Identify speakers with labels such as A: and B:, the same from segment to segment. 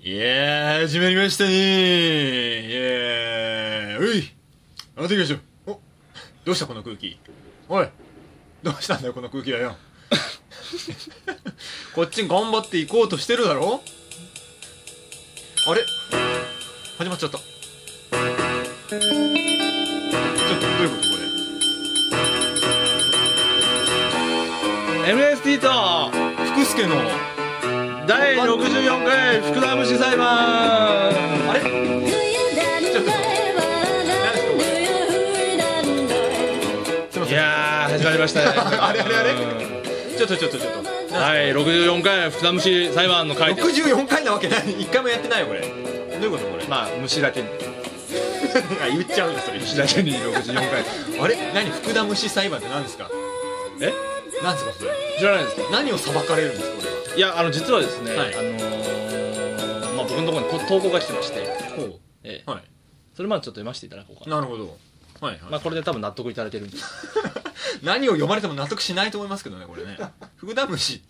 A: いやー、始まりましたねー。いやー、おい、あなた行きましょう。お、どうしたこの空気。おい、どうしたんだよ、この空気だよ。 こっち頑張っていこうとしてるだろあれ始まっちゃった。ちょっと、どういうことこれ。
B: MST と
A: 福助の
B: 第64回福田節裁判
A: あれ
C: 冬なんだよ笑う冬なんだよ
A: すいま
B: い
A: せん
B: やー始まりましたね
A: あれあれあれ
B: うん
A: ちょっとちょっとちょっと
B: はい64回福田節裁判の回です
A: 64回なわけない1回もやってないよこれどういうことこれ、
B: まあ虫だけに
A: あ、言っちゃうんだそれ
B: 虫だけに64回
A: あれ何福田虫裁判って何ですか
B: え
A: 何ですかそれ
B: 知らないですか
A: 何を裁かれるんですかこ
B: いやあの実はですね、
A: はい
B: あのーまあ僕のところにこ投稿が来てまして、
A: れはほ
B: ええ
A: うは
B: それまあちょっと読ませていただこうか
A: い
B: な
A: なるほどはいはい、
B: まあこれで多分納得いただけるんで
A: 何を読まれても納得しないと思いますけどねこれね福田虫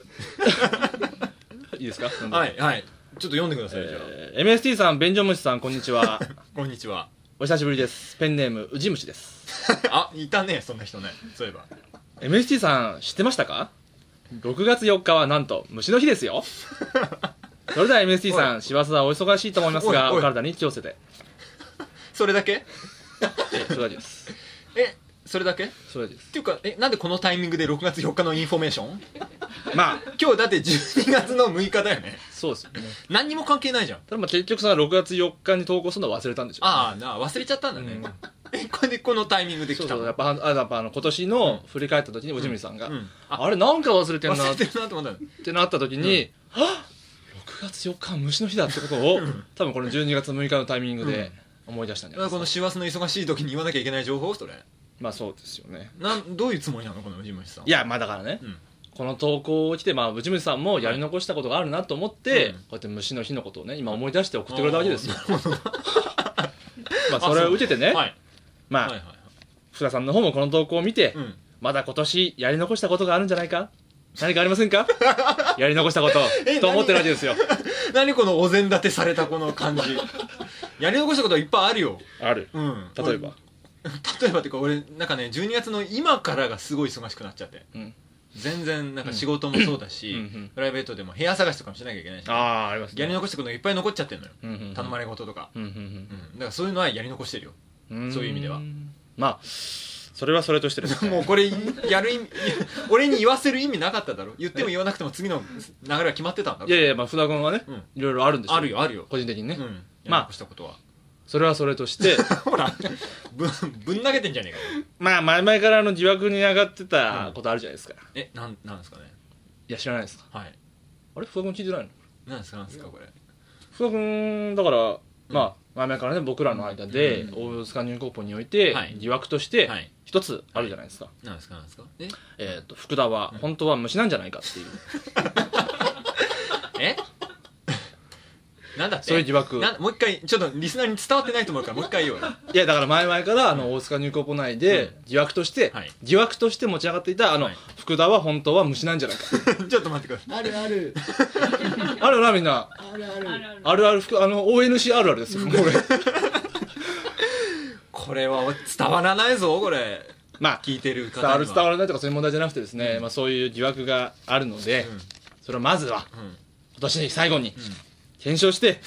B: いいですか、
A: はいいはいちょっと読んでください、じゃ
B: えー MST さん便所虫さんこんにち は
A: あこんにちは
B: お久しぶりですペンネームうじ虫です
A: あいたねそんな人ねそういえば
B: MST さん知ってましたか6月4日はなんと虫の日です よそれでは MST さん師走はお忙しいと思いますが
A: おいおい
B: お体に気をつけて
A: それだけ
B: ええそれだけです
A: えそれだけっ
B: それだけです
A: ていうかえなんでこのタイミングで6月4日のインフォメーション
B: まあ
A: 今日だって12月の6日だよね
B: そうですよね
A: 何にも関係ないじゃん
B: ただまあ結局その6月4日に投稿するのは忘れたんでしょうね
A: ああなあ忘れちゃったんだね、
B: うん
A: えこれでこのタイミングで
B: そ
A: 来
B: う
A: た
B: そう
A: の
B: やっぱあやっぱあの今年の振り返った時におじみさんが、
A: うん
B: あれなんか忘れてんな
A: 忘
B: っ
A: れてるなと思ったの
B: てなった時に、はっ6月4日は虫の日だってことを多分この12月6日のタイミングで思い出したんじゃない
A: こ
B: で
A: の
B: す
A: 師
B: か、
A: 走の忙しい時に言わなきゃいけない情報それ
B: まあそうですよね
A: なんどういうつもりなのこの藤虫さん
B: いやまあだからね、
A: うん
B: この投稿を来てまあ内村さんもやり残したことがあるなと思っ
A: う
B: て、
A: ん
B: こうやって虫の日のことをね今思い出して送ってくれたわけですよ
A: あーなるほど
B: まあそれを受けて ね
A: はい
B: ま
A: は
B: あ、
A: いはい
B: 福田さんの方もこの投稿を見て、
A: うん
B: まだ今年やり残したことがあるんじゃないか何かありません かやり残したこと
A: え
B: と思ってるわけですよ
A: 何このお膳立てされたこの感じ やり残したことはいっぱいあるよ
B: ある
A: うん
B: 例えば、
A: 例えばっていうか俺なんかね12月の今からがすごい忙しくなっちゃって
B: うん、
A: 全然なんか仕事もそうだし、
B: うんうん
A: プライベートでも部屋探しとかもしなきゃいけないし
B: あああります
A: やり
B: ね
A: 残したことがいっぱい残っちゃってるのよ、
B: うんうんうん
A: 頼まれ事とか、
B: うんうん
A: うん、だからそういうのはやり残してるよ
B: うんうん
A: そういう意味では
B: まあそれはそれとして ですね
A: もうこれやる意味 俺に言わせる意味なかっただろ言っても言わなくても次の流れは決まってたんだろ
B: いやいやまあ福田君はね、
A: うん
B: いろいろあるんですよ
A: あるよあるよ
B: 個人的にね、
A: うんやり
B: まあ
A: 残したことは、
B: それはそれとして
A: ほらぶんぶん投げてんじゃねえかよ
B: まあ前々からあの疑惑に上がってたことあるじゃないですか、い
A: えなんなんですかね
B: や知らないですか
A: はい
B: あれ福田君聞いてないの
A: なんですかなんですかこれ
B: 福田君だから、まあ前々からね僕らの間で、大塚入高校において、
A: はい
B: 疑惑として
A: はい
B: 一つあるじゃないですか、
A: なんですかなんですかえ
B: えっと福田は本当は虫なんじゃないかっていう、
A: えなんだって
B: そういう疑惑
A: なもう一回ちょっとリスナーに伝わってないと思うからもう一回言おうよ
B: いやだから前々からあの大塚入高校内で、疑惑として、
A: はい
B: 疑惑として持ち上がっていたあの、
A: はい
B: 福田は本当は虫なんじゃないか
A: ちょっと待ってください
D: あるある
B: あるなみんな
D: あるある
B: あるある福あの ONC あるあるです よこれ
A: これは伝わらないぞこれ
B: まあ
A: 聞いてる方
B: 伝
A: には
B: わる伝わらないとかそういう問題じゃなくてですね、まあ、そういう疑惑があるので、
A: うん
B: それをまずは
A: うん
B: 今年に最後に検証して、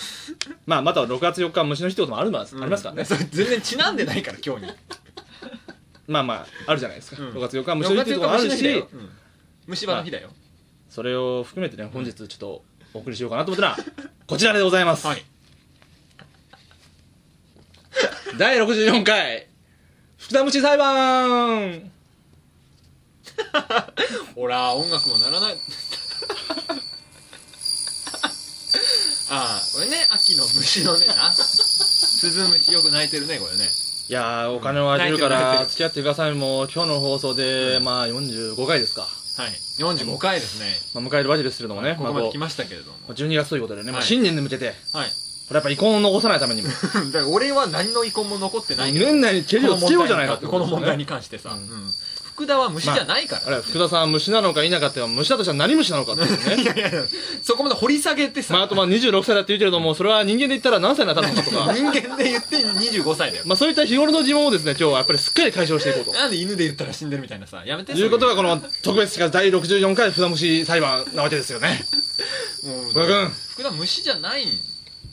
B: まあ、または6月4日は虫の日ってこともあるます、ありますからね
A: それ全然ちなんでないから今日に
B: まあまああるじゃないですか、
A: うん
B: 6月4日は虫の日っていうこともあるし、
A: うん虫歯の日だよ
B: それを含めてね本日ちょっとお送りしようかなと思ったらこちらでございます、
A: はい
B: 第64回福田虫裁判
A: ほら音楽もな らないああこれね秋の虫のねな鈴虫よく鳴いてるねこれね
B: いやーお金をあげるか
A: 泣いてる泣いて
B: ら
A: る
B: 付き合ってくださいもう今日の放送で、まあ45回ですか、
A: はい45回ですね
B: まあ、迎えるわけですけれどもね、
A: ここま
B: あ
A: で
B: こ
A: 来
B: う
A: ましたけれども
B: 12月ということでね、まあ、
A: はい
B: 新年に向けて、
A: はい
B: これやっぱ遺恨を残さないためにも、
A: だから俺は何の遺恨も残ってないけど
B: 年内に蹴りをつけようじゃないかって
A: この問題
B: に。
A: に関してさ、
B: うん
A: うん福田は虫じゃないから、
B: あれ、福田さんは虫なのか否かっていうのは、虫だとしたら何虫なのかっていうね。
E: いやいや、
A: そこまで掘り下げてさ、
B: まあ、あとまあ26歳だって言うけれども、それは人間で言ったら何歳になったのかとか。
A: 人間で言って25歳だよ
B: まあそういった日頃の疑問をですね、今日はやっぱりすっかり解消してい こうと。
A: なんで犬で言ったら死んでるみたいなさやめて
B: いうことがこ
A: の
B: の特別が第64回札虫裁判なわけですよね。福田君、
A: 福田虫じゃないん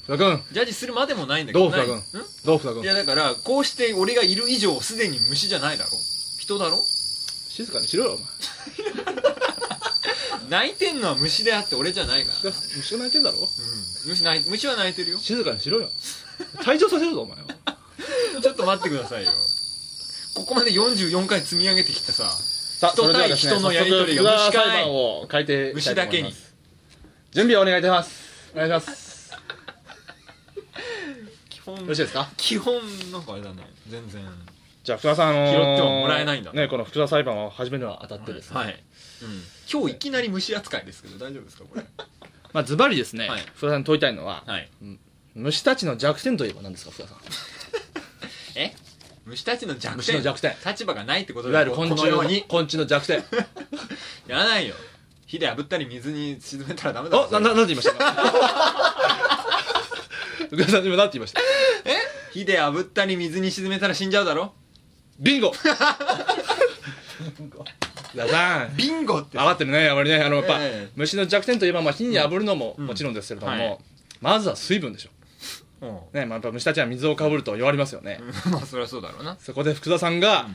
B: 福田君、
A: ジャッジするまでもないんだけど
B: どう福田
A: ないん
B: どう福田
A: い
B: 君。
A: やだからこうして俺がいる以上すでに虫じゃないだろ人だろ
B: 静かにしろよ、お前。
A: 泣いてんのは虫であって俺じゃないから
B: 福田虫が泣いてんだろ
A: うん虫ない虫は泣いてるよ
B: 静かにしろよ。退場させるぞ、お前は。
A: ちょっと待ってくださいよここまで44回積み上げてきたさ
B: さ
A: 人対人のやりとりが
B: 早速
A: 虫
B: 福
A: かい
B: 田裁判を書いていきたいと
A: 虫だ
B: 思います
A: けに
B: 準備をお願いいたします。お願いします。よ
A: 基本
B: ろしいですか
A: 基本なんかあれだね全然
B: じゃあ福田さん、あのー
A: 拾ってはもらえないんだ
B: ね、この福田裁判を始めるのは当たってですね。
A: はい、うん、今日いきなり虫扱いですけど大丈夫ですかこれ
B: まあズバリですね、
A: はい
B: 福田さんに問いたいのは、
A: はい
B: 虫たちの弱点といえば何ですか、福田さん。
A: え虫たちの弱点
B: 虫の弱点
A: 立場がないってこと
B: い
A: だ
B: わ
A: よ
B: ゆる昆
A: こ
B: 虫
A: のよ
B: の
A: うに
B: 昆虫の弱点。
A: やらないよ火で炙ったり水に沈めたらダメだろ
B: お、な、な、なんて言いました 今福田さん、今なんて言いました
A: 火で炙ったり水に沈めたら死んじゃうだろ
B: ビ ンゴ福田さん。
A: ビンゴっ
B: 分かってるね、あまりね、あのやっぱ、
A: ええ
B: 虫の弱点といえば、まあ、火に炙るのも
A: うん
B: もちろんですけれども、
A: うんはい
B: まずは水分でしょ、
A: うん
B: ねまあ、やっぱ虫たちは水をかぶると弱りますよね、
A: まあそりゃそうだろうな
B: そこで福田さんが、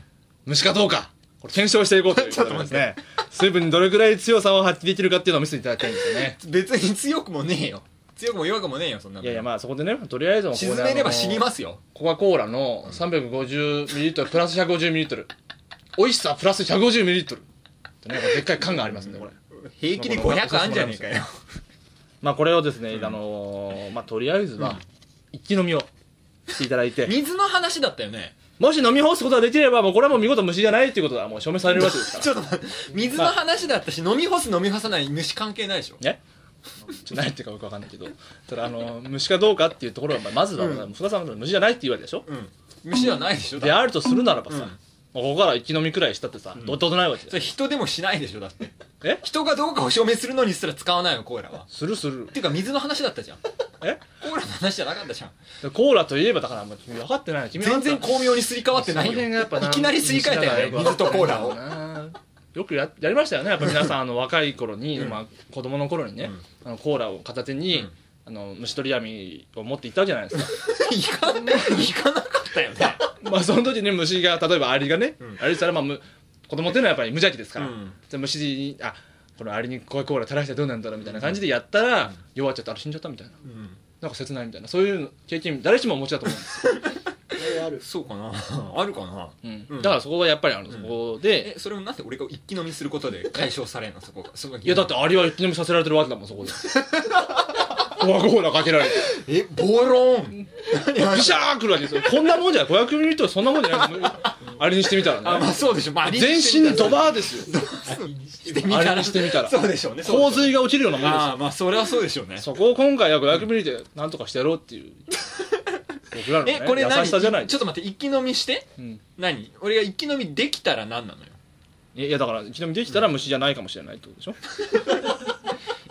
B: 虫かどうか、これ検証していこうとい うことでですね、水分にどれくらい強さを発揮できるかっていうのを見せていただきたいんですよね。
A: 別に強くもねえよ強くも弱くもねえよそんなの
B: いやいや、まあ、そこでね、とりあえずはここで
A: 沈めれば死に
B: あの
A: ますよ
B: コカ・コーラの 350ml プラス 150ml、美味しさプラス 150ml ってね、でっかい缶がありますね、これ。
A: 平気で500あんじゃねえかよ
B: まあこれをですね、あのーまあとりあえずは、一気飲みをしていただいて、
A: 水の話だったよ ね
B: もし飲み干すことができれば、もうこれはもう見事虫じゃないっていうことはもう証明されるわけですか ら。
A: ちょっと待って水の話だったし飲み干す飲み干さない虫関係ないでしょ
B: ねちょっと何言ってるかよくわかんないけど、ただあのー虫かどうかっていうところは、まあまずは、
A: うん
B: 福田さんは虫じゃないって言われるでしょ
A: うん虫じゃないでしょだ
B: で
A: って
B: あるとするならばさ、
A: うん
B: もうここから一気飲みくらいしたってさ、どうってことないわけ
A: それ
B: だよ。
A: 人でもしないでしょだって
B: え
A: 人がどうかを証明するのにすら使わないよコー ラは
B: するする
A: っ。ていうか水の話だったじゃんコ
B: え
A: ーラの話じゃなかったじゃん
B: でコーラといえばだから、もう君分かってない。君
A: 全然巧妙にすり替わってない
B: その辺が
A: よ
B: やっぱ
A: いきなりすり替えたよね水とコーラを
B: を よくややりましたよねやっぱ皆さんあの若い頃に、まあ、子供の頃にね、あのコーラを片手に、
A: うん
B: あの虫取り網を持っていったじゃないですか
A: いかいかなかったよね
B: まあその時に虫が例えばアリがね、
A: ん
B: アリしたらまあむ子供っていうのはやっぱり無邪気ですから、
A: うん
B: じゃあ虫にあこのアリにこういうコーラ垂らしてどうなんだろうみたいな感じでやったら、弱っちゃったあれ死んじゃったみたいな
A: うん
B: なんか切ないみたいなそういう経験誰しもお持ちだと思うんですよ、
A: そうかなあるかな
B: うん
A: うん
B: だからそこはやっぱりあの、そこ
A: え
B: で
A: それをなんで俺が一気飲みすることで解消されんのそこがそこが
B: いやだってアリは一気飲みさせられてるわけだもん そこでコアコーラかけられて
A: えボロン
B: ビシャーくるわけですよ。こんなもんじゃない。500ミリとそんなもんじゃないです。あれにしてみたらね。
A: あまあそうでしょまあ
B: 全身ドバーですよ。
A: してみ
B: あ
A: た
B: れ
A: ら
B: にしてみたら。
A: そうでしょうねそう
B: 洪
A: でしょう
B: 水が起きるようなもん
A: ああまあそれはそうでしょうね
B: ですよ。そこを今回は500ミリでなんとかしてやろうっていう。僕らの、ね、
A: えこれ
B: 優
A: 何
B: し
A: ちょ
B: さ
A: っ
B: じ
A: と
B: ゃない。
A: 待って一気飲みして
B: うん
A: 何俺が一気飲みできたら何なのよ
B: いやいやだから、一度見できたら虫じゃないかもしれないってことでしょ。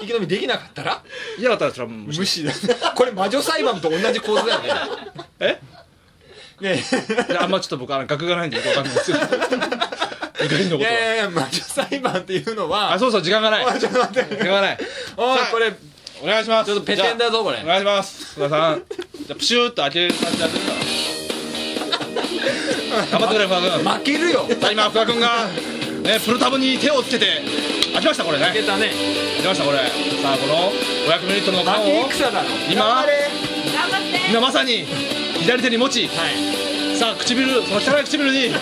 A: 一気飲みできなかったら
B: いやだったらそれはもう虫。
A: 無視だ これ魔女裁判と同じ構図だよね
B: え
A: ね
B: いやあんまちょっと僕、あの、学がないんでよくわかんないで すよ。怒り
A: えい
B: のことは。
A: やいやいや魔女裁判っていうのは
B: あ、そうそう、時間がない。
A: あちょっと待って
B: 時間がない。
A: おい
B: さあ
A: これ
B: お願いします。
A: ちょっとペテンだぞこれ
B: お願いします福田さんじゃあプシューッと開ける感じでやってみたら頑張ってくれ福田君
A: 負けるよ
B: さあ今福田君がねプルタブに手をつけて開きましたこれね
A: 負けたね
B: 開きましたこれさあこの 500ml の缶
A: 負け
B: を
A: 戦だろ
B: 今
F: 頑張って
B: 今まさに左手に持ち
A: はい
B: さあ唇その汚い唇に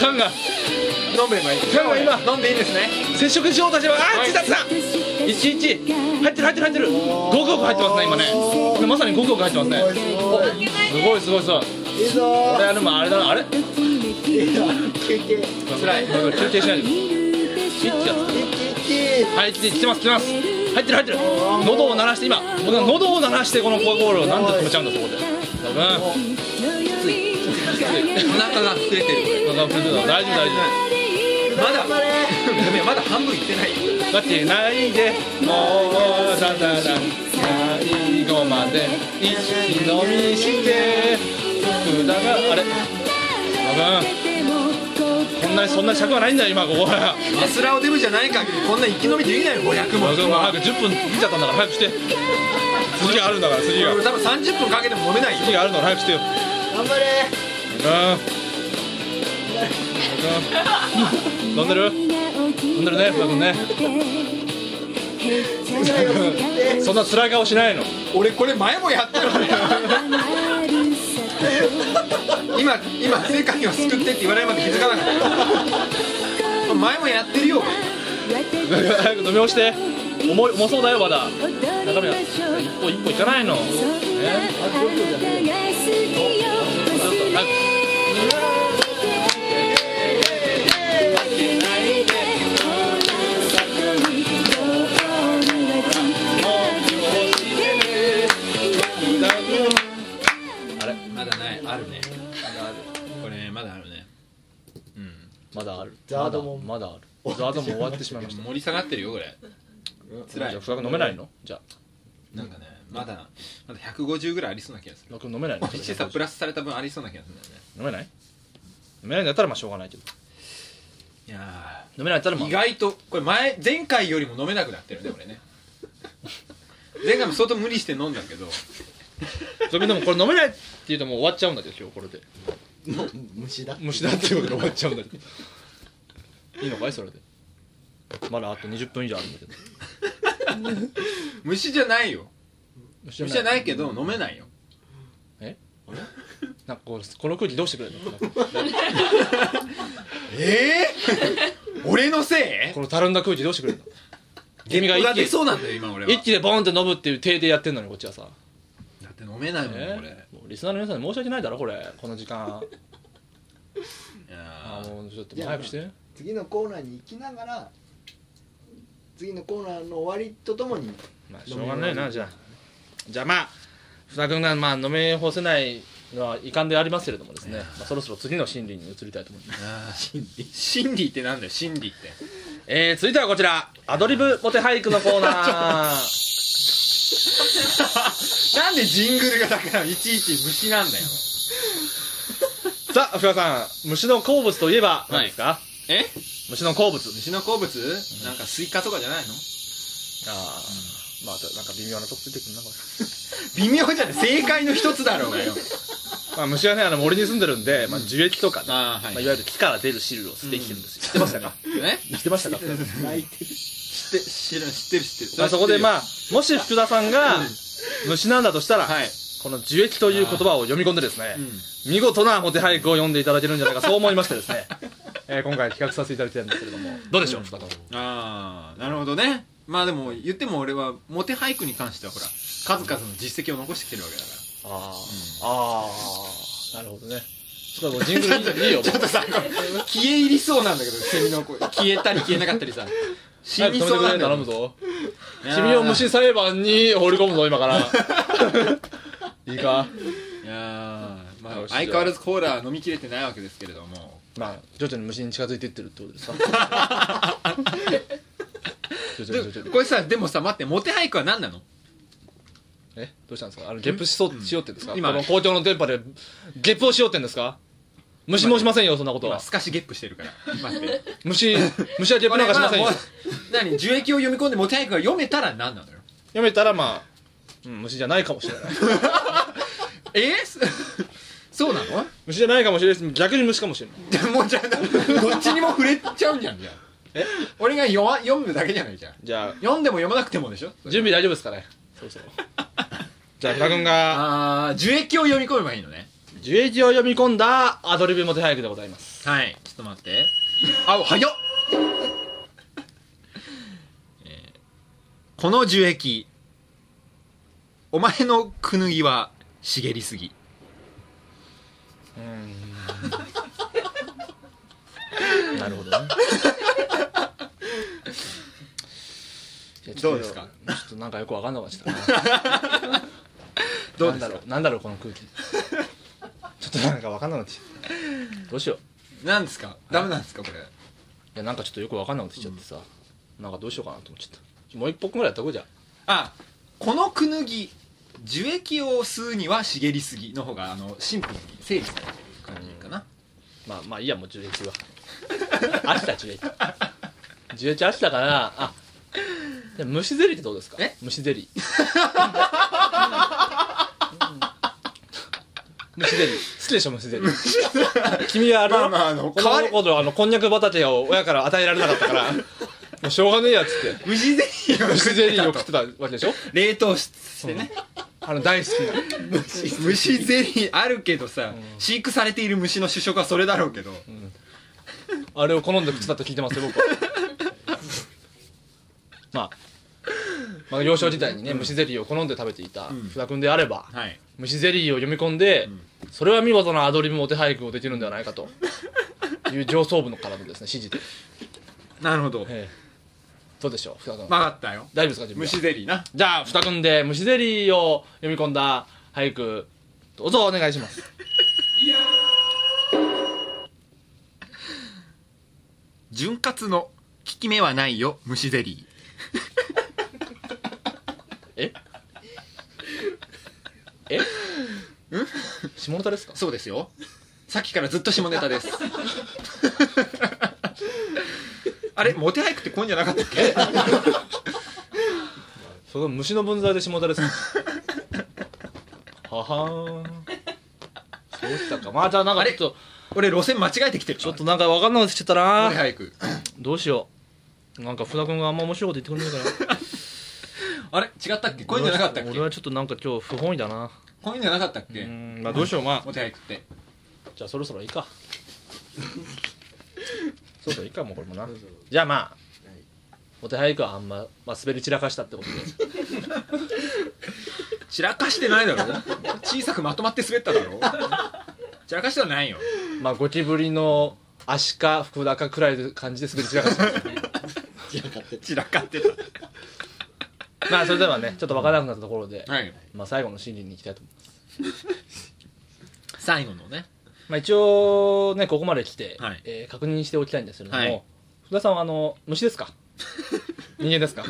B: 缶が
A: 飲めばいい
B: 飲めばいい
A: 今飲んでいいんですね
B: 接触しようとしてもあっつだつだいちいち入ってる入ってる入ってるごくごく入ってますね今ねこれまさにごくごく入ってますね
F: 負けない
B: すごいすごいすごい
D: いいぞ
B: これはでもあれだなあれ
D: ーいいよ休憩
B: 辛い休憩しないでピッてや
D: 一気一気
B: つはい来て来てます来てます入ってる入ってる喉を鳴らして今僕は喉を鳴らしてこのコアコールをなんで止めちゃうんだそこで多分
F: きつい
A: お
B: てる
A: 腹が膨れてる
B: お腹膨れてるの大丈夫大丈
A: まだごめんまだ半分いってない
B: 夫だってないでもうさだら最後まで一気飲みしてくだらあれ多分こんなにそんな尺はないんだよ今ここは
A: マスラオデブじゃない限りこんな生き延びできないよ500も
B: 馬場君も早く10分見ちゃったんだから早くして次があるんだから次が
A: 俺多分30分かけても飲めないよ
B: 次があるの早くしてよ
D: 頑張れ
B: うん飲んでる
C: 飲
B: んでるね福田君ねそんな辛い顔しないの
A: 俺これ前もやった のに今今世界を救ってって言われるまで気づかなか った前もやってるよ
B: 早く飲み干して重い重そうだよまだ中身は一歩一歩いかないの
C: そんなあなたが好きよ忘れないでほら外にドールが近づいてる
B: あれ
A: まだないあるねこれまだあるねうん
B: まだある
D: ザードも
B: まだまだあるザードも終わってしまいました
A: 盛り下がってるよこれつら
B: じ
A: い
B: ゃあ深く飲めないのじゃあ
A: なんかねまだまだ150ぐらいありそうな気がする
B: 僕飲めないの
A: こっちさプラスされた分ありそうな気がするんだよね
B: 飲めない飲めないんだったらまあしょうがないけど
A: いや
B: 飲めないんだったらま
A: ー
B: あ
A: 意外とこれ前前回よりも飲めなくなってるね俺ね前回も相当無理して飲んだけど
B: それでもこれ飲めないって言うともう終わっちゃうんだけど今日これで
D: 虫だ
B: 虫だっていうことで終わっちゃうんだ けどいいのかいそれでまだあと20分以上あるんだけど
A: 虫じゃないよ
B: 虫
A: 虫じゃないけど飲めないよ
B: なんかこうこの空気どうしてくれるのなんか
A: ええ 俺のせ
B: このたるんだ空気どうしてくれる の
A: い
B: 君が
A: ゲップが
B: 一気
A: 出
B: に
A: そうなんだよ今俺は
B: 一気でボーンって飲むっていう体でやってんのにこっちはさ、
A: だって飲めないもん
B: ね
A: 俺
B: もうリスナーの皆さんに申し訳ないだろこれこの時間
A: いや
B: あ
A: ー
B: もうちょっともう早くして
D: 次のコーナーに行きながら次のコーナーの終わりとともに
B: まあしょうがないなじゃあじゃあまあふたくんがまあ飲め干せないのは遺憾でありますけれどもですね、まあ、そろそろ次の心理に移りたいと思います
A: あー心理心理ってなんだよ心理 って
B: えー、続いてはこちらアドリブモテ俳句のコーナ ー
A: なんでジングルがだからいちいち虫なんだよ
B: さあ福田さん虫の好物といえば何ですか、
A: え
B: 虫の好物
A: 虫の好物なんかスイカとかじゃないの
B: あー、まあなんか微妙なとこついてくるなこれ、
A: 微妙じゃない正解の一つだろうがよ
B: まあ、虫はねあの森に住んでるんで、まあ、樹液とかね、ま
A: ああは
B: あ、いわゆる木から出る汁を吸って生きてるんですよ、知ってましたか
A: ね
B: 知ってま したか
D: 泣いてる
A: 知って知る知ってる知ってる
B: まあそこで
A: あ
B: まあもし福田さんが虫なんだとしたら、
A: はい
B: この樹液という言葉を読み込んでですね、見事なモテ俳句を読んでいただけるんじゃないかそう思いましてですね、 えー今回企画させていただきたいんですけれどもどうでしょう、福田さん
A: あーなるほどねまあでも言っても俺はモテ俳句に関してはほら数々の実績を残してきてるわけだから
B: あー、あーなるほどね ちょっともうジングルいいいいよもう
A: ちょっとさこれ消え入りそうなんだけどセミの声消えたり消えなかったりさ死にそうなんだよ
B: 頼むぞ
A: いやー
B: 君を虫裁判に放り込むぞ今 からいいか
A: いやーまあ
B: よし
A: 相変わらずコーラは飲みきれてないわけですけれども
B: まあ徐々に虫に近づいていってるってことです か徐々に
A: で
B: 徐々に
A: これさでもさ待ってモテ俳句は何なの
B: えどうしたんですかあのゲップしそう、しようってんですか
A: 今
B: この公共の電波でゲップをしようってんですか虫もしませんよそんなこと
A: 今
B: は
A: すかしゲップしてるから待 って
B: 虫虫はゲップなんかしませんよ
A: これはもう 何樹液を読み込んでモテ俳句が読めたら何なのよ
B: 読めたらまあ、うん、虫じゃないかもしれない
A: えー、す そうなの
B: 虫じゃないかもしれないし逆に虫かもしれない
A: じ ゃあもうじゃあどっちにも触れちゃうんじゃんじゃあ
B: え
A: 俺が読わ読むだけじゃないじゃん
B: じゃあ
A: 読んでも読まなくてもでしょ
B: 準備大丈夫ですかねそうそうじゃあ福田君が
A: ああ樹液を読み込めばいいのね
B: 樹液を読み込んだアドリブモテ俳句でございます
A: はいちょっと待ってあ早っ、えーこの樹液お前のくぬぎは茂りすぎ
B: なるほどねいやちょっと
A: どうですか
B: ちょっとなんかよくわかんなくなっちゃったな
A: どう
B: な
A: です
B: んだ
A: か
B: ろうなんだろうこの空気ちょっことなのか分かんなくなってきたどうしよう
A: なんですかダメなんですかこれ
B: いやなんかちょっとよく分かんなくなってきちゃってさ、なんかどうしようかなと思っちゃったもう一本ぐらいやったこうじゃん
A: あこのくぬぎ樹液を吸うには茂りすぎの方があのシンプルに整理されてる感じかな、
B: まあまあいいやもう樹液は飽きた樹液樹液飽きたからあでも虫ゼリーってどうですか
A: え
B: 虫ゼリ ーうん虫ゼリー好きでしょ虫ゼリー君はあれだろ、
A: まあまああの
B: 子
A: 代わり
B: 供の頃あのこんにゃく畑を親から与えられなかったからもうしょうがねえやっつって
A: 虫ゼリーを
B: 虫ゼリーを
A: 食
B: 食
A: っ
B: っててたわけでしょ
A: たと冷凍してね
B: あの大好きな
A: 虫ゼリーあるけどさ、飼育されている虫の主食はそれだろうけど、
B: あれを好んで食ってたと聞いてますよ 僕はまあ、まあ、幼少時代にね虫ゼリーを好んで食べていた福田君であれば、
A: はい
B: 虫ゼリーを読み込んで、それは見事なアドリブも手俳句をできるんではないかという上層部のからのですね指示で、
A: なるほど
B: ええどうでしょう福田君、
A: 分かったよ
B: 大丈夫ですか自分は
A: 虫ゼリーな
B: じゃあ福田君で虫ゼリーを読み込んだ俳句どうぞお願いします
A: 潤滑の効き目はないよ虫ゼリー
B: ええ下ネタですか
A: そうですよさっきからずっと下ネタです あれモテ俳句ってこんじゃなかったっけ
B: その虫の分際で下田ですかははーんそうでしたかまあじゃあなんかちょっと
A: 俺路線間違えてきてる
B: ちょっとなんか分かんなくなってきちゃったな
A: モテ俳句
B: どうしようなんか福田君があんま面白いこと言っ てくれないから
A: あれ違ったっけこういうんじゃなかったっけ
B: 俺はちょっとなんか今日不本意だな
A: こういうんじゃなかったっ
B: う
A: け
B: んまあどうしようまあ
A: モテ俳句って
B: じゃあそろそろい いかそろそろいいかもうこれもなじゃあまあお手早くはあんま、まあ、滑り散らかしたってことで
A: 散らかしてないだろ小さくまとまって滑っただろ散らかしてはないよ
B: まあゴキブリの足か福田かくらいの感じで滑り散らかした
A: 散らかってた
B: まあそれではねちょっと分からなくなったところで、
A: はい
B: まあ、最後の審理に行きたいと思います、
A: 最後のね
B: まあ、一応ねここまで来て、
A: はい
B: えー確認しておきたいんですけれども、
A: はい
B: 福田さんはあの虫です か人間ですか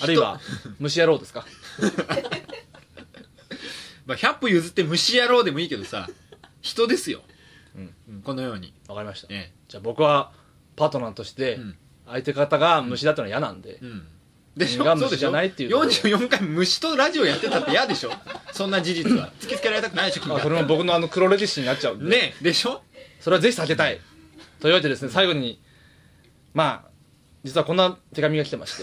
B: あるいは虫野郎ですか
A: まあ100歩譲って虫野郎でもいいけどさ人ですよ、
B: うん
A: うんこのように
B: わかりました、
A: ね
B: じゃあ僕はパートナーとして
A: うん
B: 相手方が虫だってのは嫌なんで、
A: うんでし
B: 人間
A: ょそ
B: が
A: うで
B: 虫
A: し
B: じ
A: ょ
B: ゃないっていう
A: 44回虫とラジオやってたって嫌でしょそんな事実は突きつけられたくないでしょ君
B: まあ、こ
A: が
B: れも僕のあの黒歴史になっちゃうんで、
A: ねえでしょ
B: それはぜひ避けたいというわけでですね最後にまあ実はこんな手紙が来てまして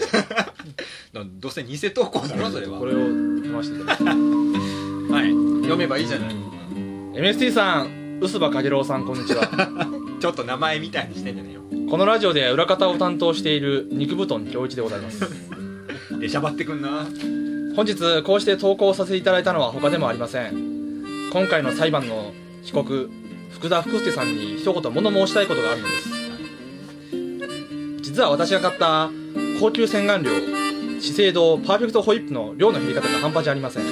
A: どどうせ偽投稿だろそれは
B: これを読ませていただきます
A: はい読めばいいじゃない
B: MST さん薄葉影郎さんこんにちは
A: ちょっと名前みたいにしてんじゃねえよ
B: このラジオで裏方を担当している肉布団恭一でございます
A: でしゃばってくんな
B: 本日こうして投稿させていただいたのは他でもありません今回の裁判の被告福田福助さんに一言物申したいことがあるのです実は私が買った高級洗顔料資生堂パーフェクトホイップの量の減り方が半端じゃありません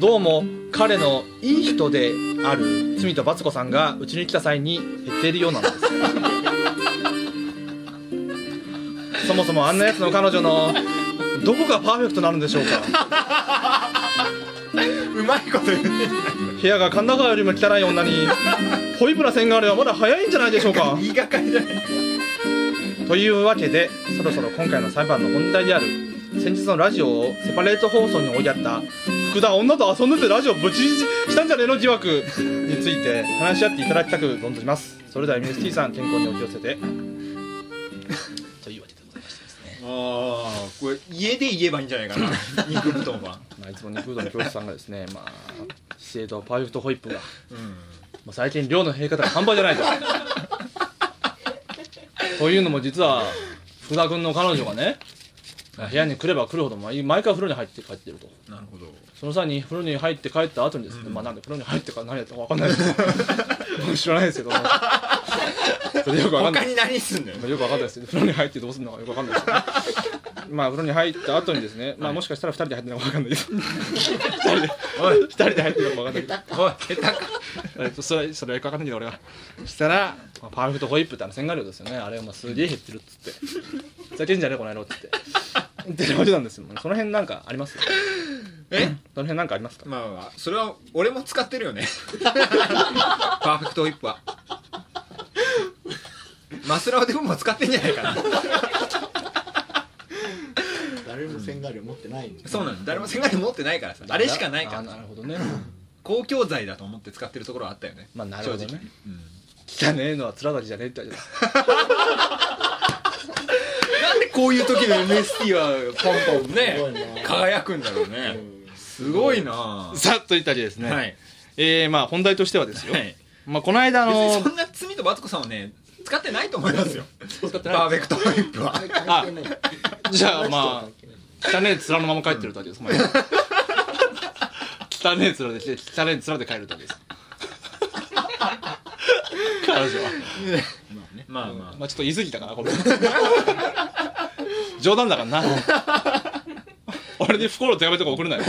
B: どうも彼のいい人である罪とバツ子さんがうちに来た際に減っているようなんですそもそもあんなやつの彼女のどこがパーフェクトなのでしょうか
A: うまいこと言って
B: 部屋が神田川よりも汚い女にホイプラ線があればまだ早いんじゃないでしょうか
A: 言いがかりだよ
B: というわけでそろそろ今回の裁判の本題である先日のラジオをセパレート放送に追いやった福田女と遊んでてラジオぶちしたんじゃねえの疑惑について話し合っていただきたく存じますそれでは MST さん健康にお気をつけてというわけでございましてですね、
A: ああこれ家で言えばいいんじゃないかな 肉布団は
B: まあ、いつも肉うどんの教室さんがですねまあ資生堂パーフェクトホイップが
A: うん
B: まあ最近量の減り方が半端じゃないとというのも実は福田君の彼女がね部屋に来れば来るほど毎毎回風呂に入って帰ってると
A: なるほど
B: その際に風呂に入って帰った後にですね、まあなんで風呂に入ってから何やったか分かんないです僕知らないですけどもそれよくわかんな
A: 他
B: い
A: に何すんのよ
B: よくわかんないですよ風呂に入ってどうするのかよくわかんないですねまあ風呂に入った後にですね、まあもしかしたら二人で入ってるのかわかんないけど
A: おい
B: 二人で入ってるのかわかんないけど
A: おい下手か
B: えっとそれ それはよくわかんないけど俺はそしたら、まあ、パーフェクトホイップってあの洗顔料ですよねあれをまあすげえ減ってるっつってふざけんじゃねえこの野郎っつってって言われてたんですよその辺なんかあります
A: え
B: その辺なんかありますか
A: まあまあまあそれは俺も使ってるよ ねパーフェクトホイップはマスラオでも使ってんじゃないかな
D: 誰も洗顔料持ってないんで
A: そうなの誰も洗顔料持ってないからさあれしかないから
B: あなるほどね
A: 公共財だと思って使ってるところはあったよね
B: まあなるほどね
A: 正直うん
B: 汚ねえのは面だけじゃねえって言われて
A: なんでこういう時の MST はポンポンね
D: すごいな
A: 輝くんだろうねすごいな
B: たさっと言ったりですね、
A: はい
B: えー、まあ本題としてはですよ、
A: はい
B: まあこの間あ
A: 別
B: の
A: にそんな罪とバツコさんはね使ってないと思いますよ
B: 使ってな
A: パ
B: い
A: ーフェクトホイップは
D: 関係ない
B: じゃあまあ汚ねえ面のまま帰ってるってわけです、お前 汚ねえ面で来て汚ねえ面で帰るってわけです彼女は
A: まあまあ
B: まあちょっと言い過ぎたかなこれ 冗談だからな俺に不幸の手紙とか送 るなよ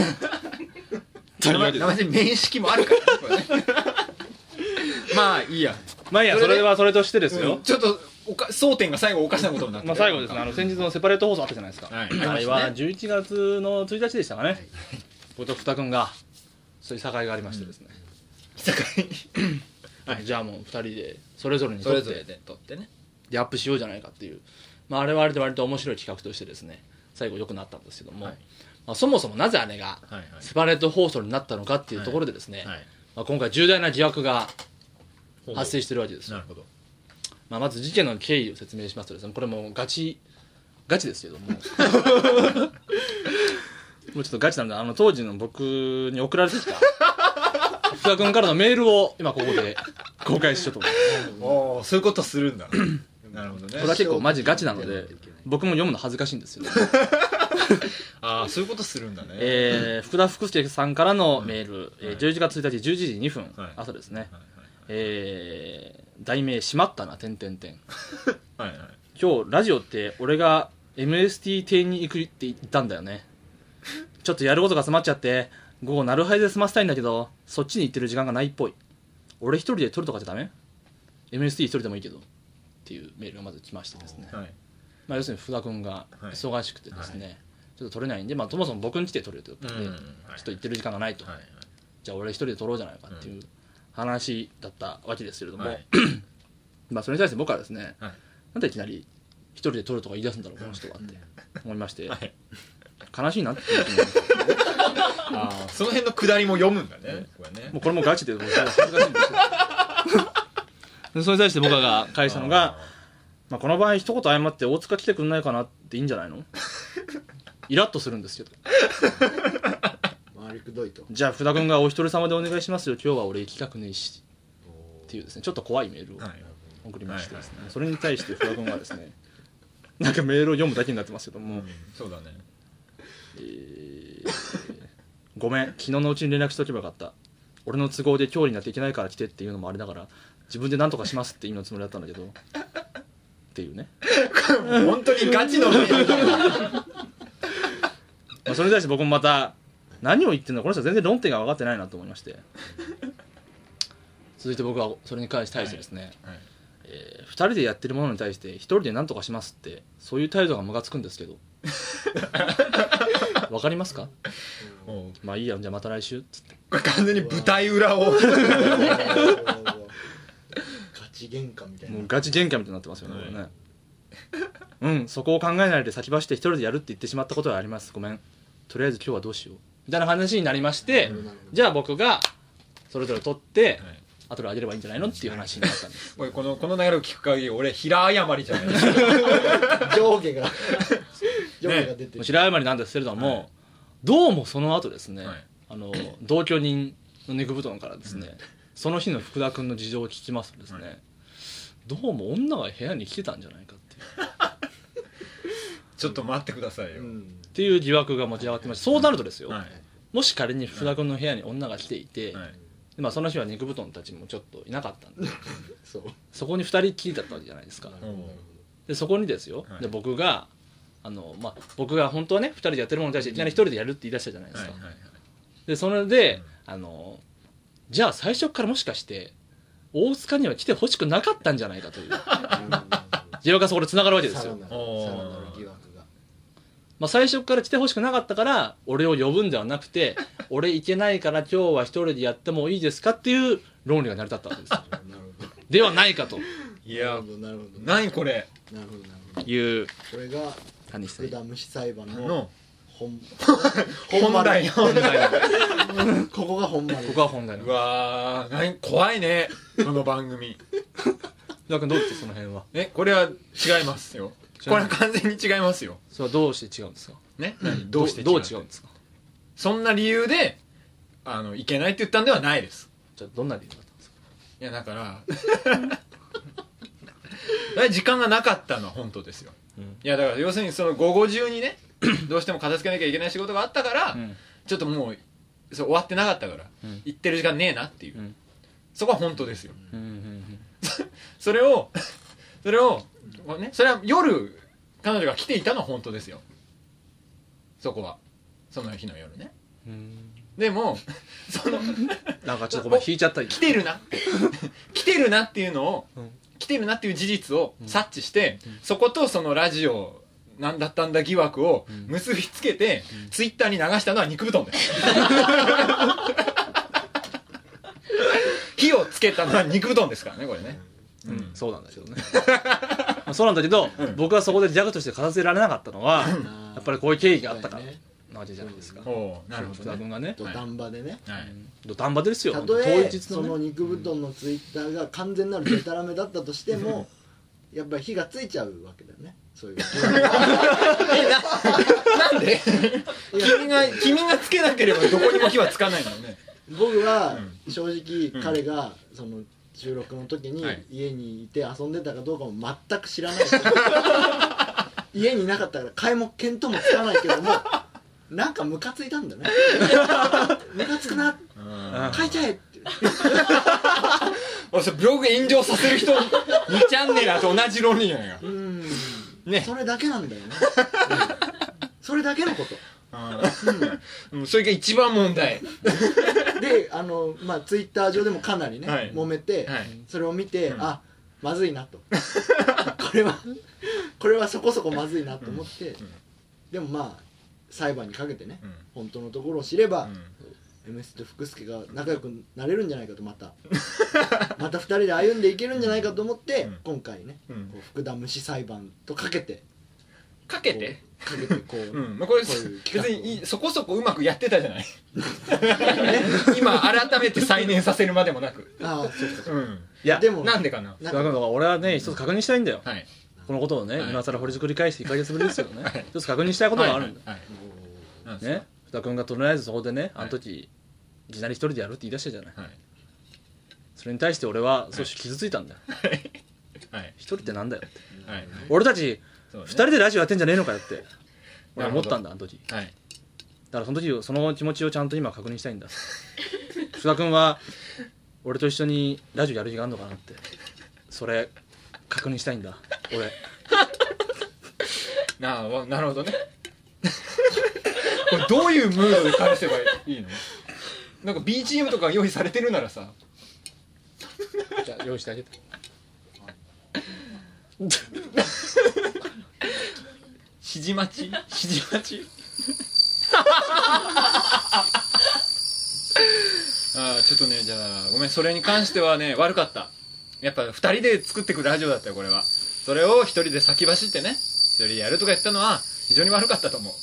B: というわけで
A: 生で面識もあるから ねこれねまあいいや
B: まあいいや
A: それ
B: そ
A: で
B: れはそれとしてですよ、
A: ちょっとおか争点が最後おかしなことになって
B: まあ最後ですね、あの先日のセパレート放送あったじゃないですか。
A: はい
B: あれは11月の1日でしたかね。僕と二君が、そういう境がありましてですね。はいじゃあもう二人で、それぞれに
A: そ
B: 撮
A: れ
B: っ
A: ぞれ
B: て、
A: で撮ってね
B: でアップしようじゃないかっていう。まああれはあれで割と面白い企画としてですね、最後良くなったんですけども、
A: はい
B: まあそもそもなぜあれが
A: はいはい
B: セパレート放送になったのかっていうところでですね、
A: はい
B: まあ今回重大な疑惑が発生してるわけですよ
A: なるほど
B: まあ、まず事件の経緯を説明しますとですねこれもうガチガチですけ どももうちょっとガチなんであの当時の僕に送られてきた福田君からのメールを今ここで公開しようと思います
A: おーそういうことするんだ なるほどね
B: これは結構マジガチなので僕も読むの恥ずかしいんですよ、
A: ああそういうことするんだね
B: えー、福田福助さんからのメール、えー11月1日11時2分、
A: はい
B: 朝ですね、
A: はい
B: えー題名「しまったな」点点点
A: はいはいはい
B: 今日ラジオって俺が MST 邸に行くって言ったんだよねちょっとやることが迫っちゃって午後なるはいで済ませたいんだけどそっちに行ってる時間がないっぽい俺一人で撮るとかじゃダメ ?MST 一人でもいいけどっていうメールがまず来ましてですね、
A: はい
B: まあ、要するに福田君が
A: はい
B: 忙しくてですね、ちょっと撮れないんで、まあ、そもそも僕ん家で撮る予定だったんで、
A: うんはい
B: ちょっと行ってる時間がないと、
A: はいはい
B: じゃあ俺一人で撮ろうじゃないかっていう話だったわけですけれども、
A: はい
B: まあそれに対して僕はですね、
A: はい
B: なんでいきなり一人で撮るとか言い出すんだろうこの人はって思いまして、
A: はい
B: 悲しいなって思ってます
A: あーその辺のくだりも読むんだねこれね
B: もうこれもガチでもう恥 ずかしいんですよでそれに対して僕らが返したのがまあ、この場合一言謝って大塚来てくんないかなっていいんじゃな いのイラッとするんですけど
D: 回りくど いと
B: じゃあ福田君がお一人様でお願いしますよ今日は俺行きたくねえしっていうですねちょっと怖いメールを
A: はい
B: 送りましてですね、
A: はいはい
B: それに対して福田君はですね なんかメールを読むだけになってますけども、
A: そうだね
B: ごめん昨日のうちに連絡しておけばよかった俺の都合で今日になっていけないから来てっていうのもあれだから自分で何とかしますって意味のつもりだったんだけどっていうね、
A: 本当にガチのメールだ
B: まあ、それに対して僕もまた何を言ってんのこの人は全然論点が分かってないなと思いまして続いて僕はそれに関して対してですね、
A: はい
B: え2人でやってるものに対して1人で何とかしますってそういう態度がムカつくんですけ どわかりますか
A: もう
B: まあいいやじゃあまた来週っつって
A: これ完全に舞台裏を
D: ガチ喧嘩みたいな
B: もうガチ喧嘩みたいになってますよね、
A: はい
B: これねうんそこを考えないで先走って一人でやるって言ってしまったことはありますごめんとりあえず今日はどうしようみたいな話になりまして、じゃあ僕がそれぞれ取って、
A: はい
B: 後であげればいいんじゃないのっていう話になったんです
A: おいこのこの流れを聞く限り俺平謝りじゃないですか
D: 上下が上下が出て
B: もう
D: る
B: 平謝りなんですけれども、どうもその後ですね、
A: はい
B: あの同居人のネグ布団からですね、その日の福田君の事情を聞きますとですね、どうも女が部屋に来てたんじゃないかっていう
A: ちょっと待ってくださいよ、
D: うん
B: っていう疑惑が持ち上がってましたそうなるとですよ、
A: はい
B: もし仮に福田君の部屋に女が来ていて、
A: はい
B: でまあその日は肉布団たちもちょっといなかったんで
D: そう
B: そこに2人っきりだったわけじゃないです
A: う
B: か
A: ん
B: でそこにですよ、
A: はい
B: で僕があの、まあ、僕が本当はね2人でやってるものに対していきなり1人でやるって言い出したじゃないです
A: はい
B: か、
A: はいはい
B: でそれで、あのじゃあ最初からもしかして大塚には来てほしくなかったんじゃないか という重要化そこでつながるわけです
D: さら
B: よ
D: なる
A: おー
D: さらなる疑惑が
B: まあ、最初から来てほしくなかったから俺を呼ぶんではなく て俺行けないから今日は一人でやってもいいですかっていう論理が成り立ったわけですよ
D: なるほど
B: ではないかと
A: いや
D: なるほどなる
A: 何これ
D: ほどなるほどなるほど
B: いう
D: これが
B: 感じ
D: 福
B: で
D: 田虫裁判の
A: の
D: 本
A: 本題の
D: 本丸 ここが本丸
B: ここは本題な
A: う
B: の
A: わー何怖いねこの番組
B: 福田君どうですその辺は
A: えこれは違いますよこれは完全に違いますよ
B: それはどうして違うんですか
A: ね何どうして
B: どう違うんですか
A: そんな理由であのいけないって言ったんではないです
B: じゃあどんな理由だったんですか
A: いやだから だから時間がなかったのは本当ですよ、
B: うん
A: いやだから要するにその午後中 にねどうしても片付けなきゃいけない仕事があったから、ちょっともうそう終わってなかったから、
B: うん
A: 行ってる時間ねえなっていう、
B: うん
A: そこは本当ですよ
B: うんうん
A: それをそれを、ね、それは夜彼女が来ていたのは本当ですよそこはその日の夜ね
B: うんうん
A: でもその
B: なんかちょっとごめん引いちゃったり
A: 来てるな 来てるなっていうのを、
B: うん
A: 来てるなっていう事実を察知して、そことそのラジオなんだったんだ疑惑を結びつけて、ツイッターに流したのは肉布団です。 火をつけたのは肉布団ですからねこれね、
B: うん、そうなんだけどねまあそうなんだけど、僕はそこでギャグとして片付けられなかったのは
D: ん
B: やっぱりこういう経緯があったから
D: そうだよね
B: なわけじゃないですか
A: おおうなるほ
B: 福
A: ど
B: 田
A: ね、
B: 君がね
D: 土壇場でね
A: はい、
B: 土壇場ですよ
D: た
B: 本
D: と
B: 当
D: え
B: 当日
D: そ
B: のね
D: の肉布団のツイッターが完全なるデタラメだったとしてもやっぱり火がついちゃうわけだよねそういう
A: なんで
D: いや
A: 君が君がつけなければどこにも火はつかないのよ ね
D: 僕は正直彼がその収録の時に
A: はい
D: 家にいて遊んでたかどうかも全く知らない 家にいなかったから買いも見当もつかないけどもなんかムカついたん だねムカつくな
A: うん
D: 買いちゃえって
A: 俺それブログ炎上させる人2チャンネルと同じ論理やんよ
D: うん
A: ね
D: それだけなんだよ ねうんそれだけのこと
A: うん、それが一番問題
D: であのまあツイッター上でもかなりね、
A: はい
D: 揉めて、
A: はい
D: それを見て、あまずいなとこれはこれはそこそこまずいなと思って、でもまあ裁判にかけてね、
A: ん
D: 本当のところを知れば、
A: う
D: MS と福助が仲良くなれるんじゃないかとまた また2人で歩んでいけるんじゃないかと思って、
A: うん
D: 今回ね、
A: うん
D: こう福田虫裁判とかけて
A: んかけて
D: こうかけてこう、
A: うんまあこれ
D: こういう
A: 別
D: 企画を
A: にいいそこそこうまくやってたじゃない今改めて再燃させるまでもなく
D: ああそうかそう
A: う
D: か
A: ん
B: いや
D: でも
A: なんでかな
D: な
B: 福田
D: んか
B: 君が俺はね一つ確認したいんだよ、
A: はい
B: このことをね、
A: はい
B: 今更掘り作り返して1ヶ月ぶりですけどね、
A: はい
B: 一つ確認したいことがあるんだ、
A: はいはいなんですか
B: ね福田君がとりあえずそこでねあ
A: はい
B: の時、いきなり一人でやるって言い出したじゃない
A: はい
B: それに対して俺は少し傷ついたんだよ
A: はい
B: 一人ってなんだよって
A: はい
B: 俺たち
A: そうね
B: 二人でラジオやってんじゃねえのかよ って俺は思ったんだあの時
A: はい
B: だからその時その気持ちをちゃんと今確認したいんだ 福田君は俺と一緒にラジオやる気があるのかなってそれ確認したいんだ俺
A: なあわなるほど ねこれどういうムードで返せばいいのなんか BGM とか用意されてるならさ
B: じゃあ用意してあげて
A: 指示待ち指示待ちああちょっとねじゃあごめんそれに関してはね悪かったやっぱ2人で作ってくるラジオだったよこれはそれを1人で先走ってね一人でやるとか言ったのは非常に悪かったと思う、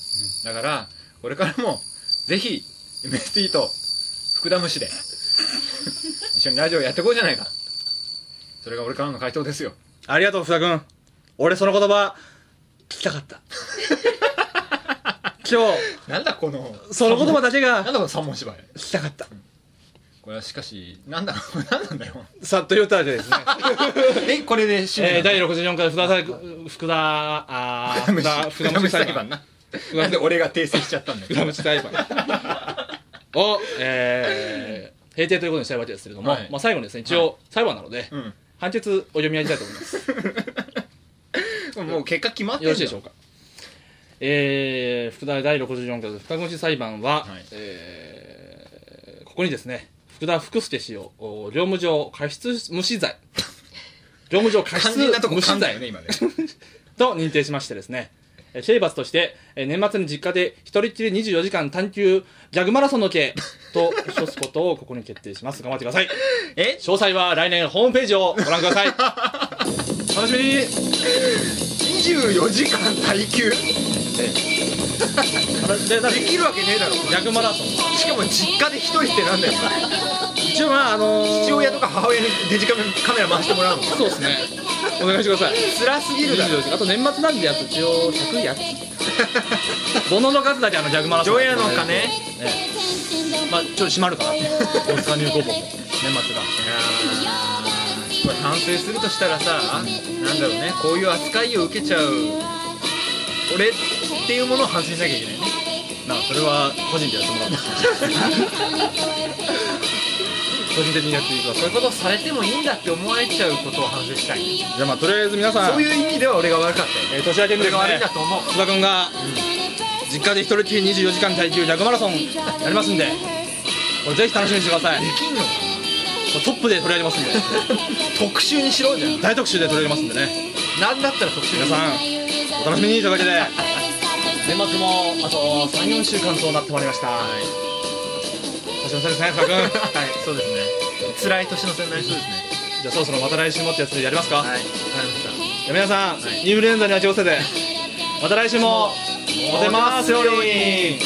A: だからこれからもぜひ MST と福田虫で一緒にラジオやっていこうじゃないかそれが俺からの回答ですよ
B: ありがとう福田君俺その言葉聞きたかった 今日
A: なんだこの
B: その言葉だけ
A: なんだ
B: が
A: この三文芝居
B: 聞きたかった
A: これはしかし、なんだろう、なんなんだよ。
B: さっと言ったわけですね、
A: え、これで締め
B: えー、
A: なの
B: 第64回福田さん福田あー
A: 福
B: 福
A: 田
B: 田
A: 福
B: 福
A: 田
B: 田
A: 虫
B: 虫
A: 裁
B: 裁
A: 判
B: 判
A: な。なんで俺が訂正しちゃったんだ
B: 福田
A: よ。
B: 虫裁判を、えー閉廷ということにしたいわけですけれども、
A: はい
B: まあ、最後にですね一応裁判なので、
A: うん
B: 判決お読み上げたいと思いますよ
A: もう結果決まってん
B: ろ
A: の
B: しいでしょうかえー、副題第64回深越裁判は、
A: はい
B: えーここにですね福田福助氏をお業務上過失無 視罪業務上過
A: 肝
B: 失
A: 心なとこ
B: 無
A: 噛
B: 視
A: んだよ
B: 罪
A: ね今ね
B: と認定しましてですね、えー刑罰として、えー年末に実家で一人っきり24時間探求ギャグマラソンの刑と処すことをここに決定します。頑張ってください。
A: え
B: 詳細は来年ホームページをご覧く ださい。楽しみに
A: 24時間耐久
B: でなんか
A: できるわけねえだろ
B: ギャグマラソン。
A: しかも実家で一人ってなんだよ
B: 一応まあ、あのー
A: 父親とか母親にデジカメカメラ回してもらうの
B: そうですね。お願いしてください。
A: 辛すぎるだろ
B: 24時間あと年末なんでやつ一応100や 煩悩の数だけあのギャグマラソン。
A: 除夜の鐘
B: ね。まあ、ちょっと閉まるかな。大塚入高校も年末が。
A: これ反省するとしたらさなんだろうねこういう扱いを受けちゃう俺っていうものを反省しなきゃいけないね
B: なあそれは個人でやってもらう個人的にやっていくわ
A: そういうことをされてもいいんだって思われちゃうことを反省したい
B: じゃあまあとりあえず皆さん
A: そういう意味では俺が悪かったよね
B: えー年明けにで
A: 俺
B: す
A: が悪い
B: ね
A: んだと思う
B: 津田君が実家で一人きり24時間耐久100マラソンやりますんでこれぜひ楽しみにしてください
A: できんの
B: これトップで取り上げますんで
A: 特集にしろじゃん
B: 大特集で取り上げますんでね
A: なんだったら特集
B: 皆
A: に
B: さんお楽しみにというわけで年末もあと34週間となってまいりました年の差ですね津田君
A: はいそうですね辛い年の瀬になりそうですね
B: じゃあそろそろまた来週もってやつでやりますか、
A: はいわかりました
B: じゃあ皆さん、インフルエンザには気をつけてまた来週もモテますように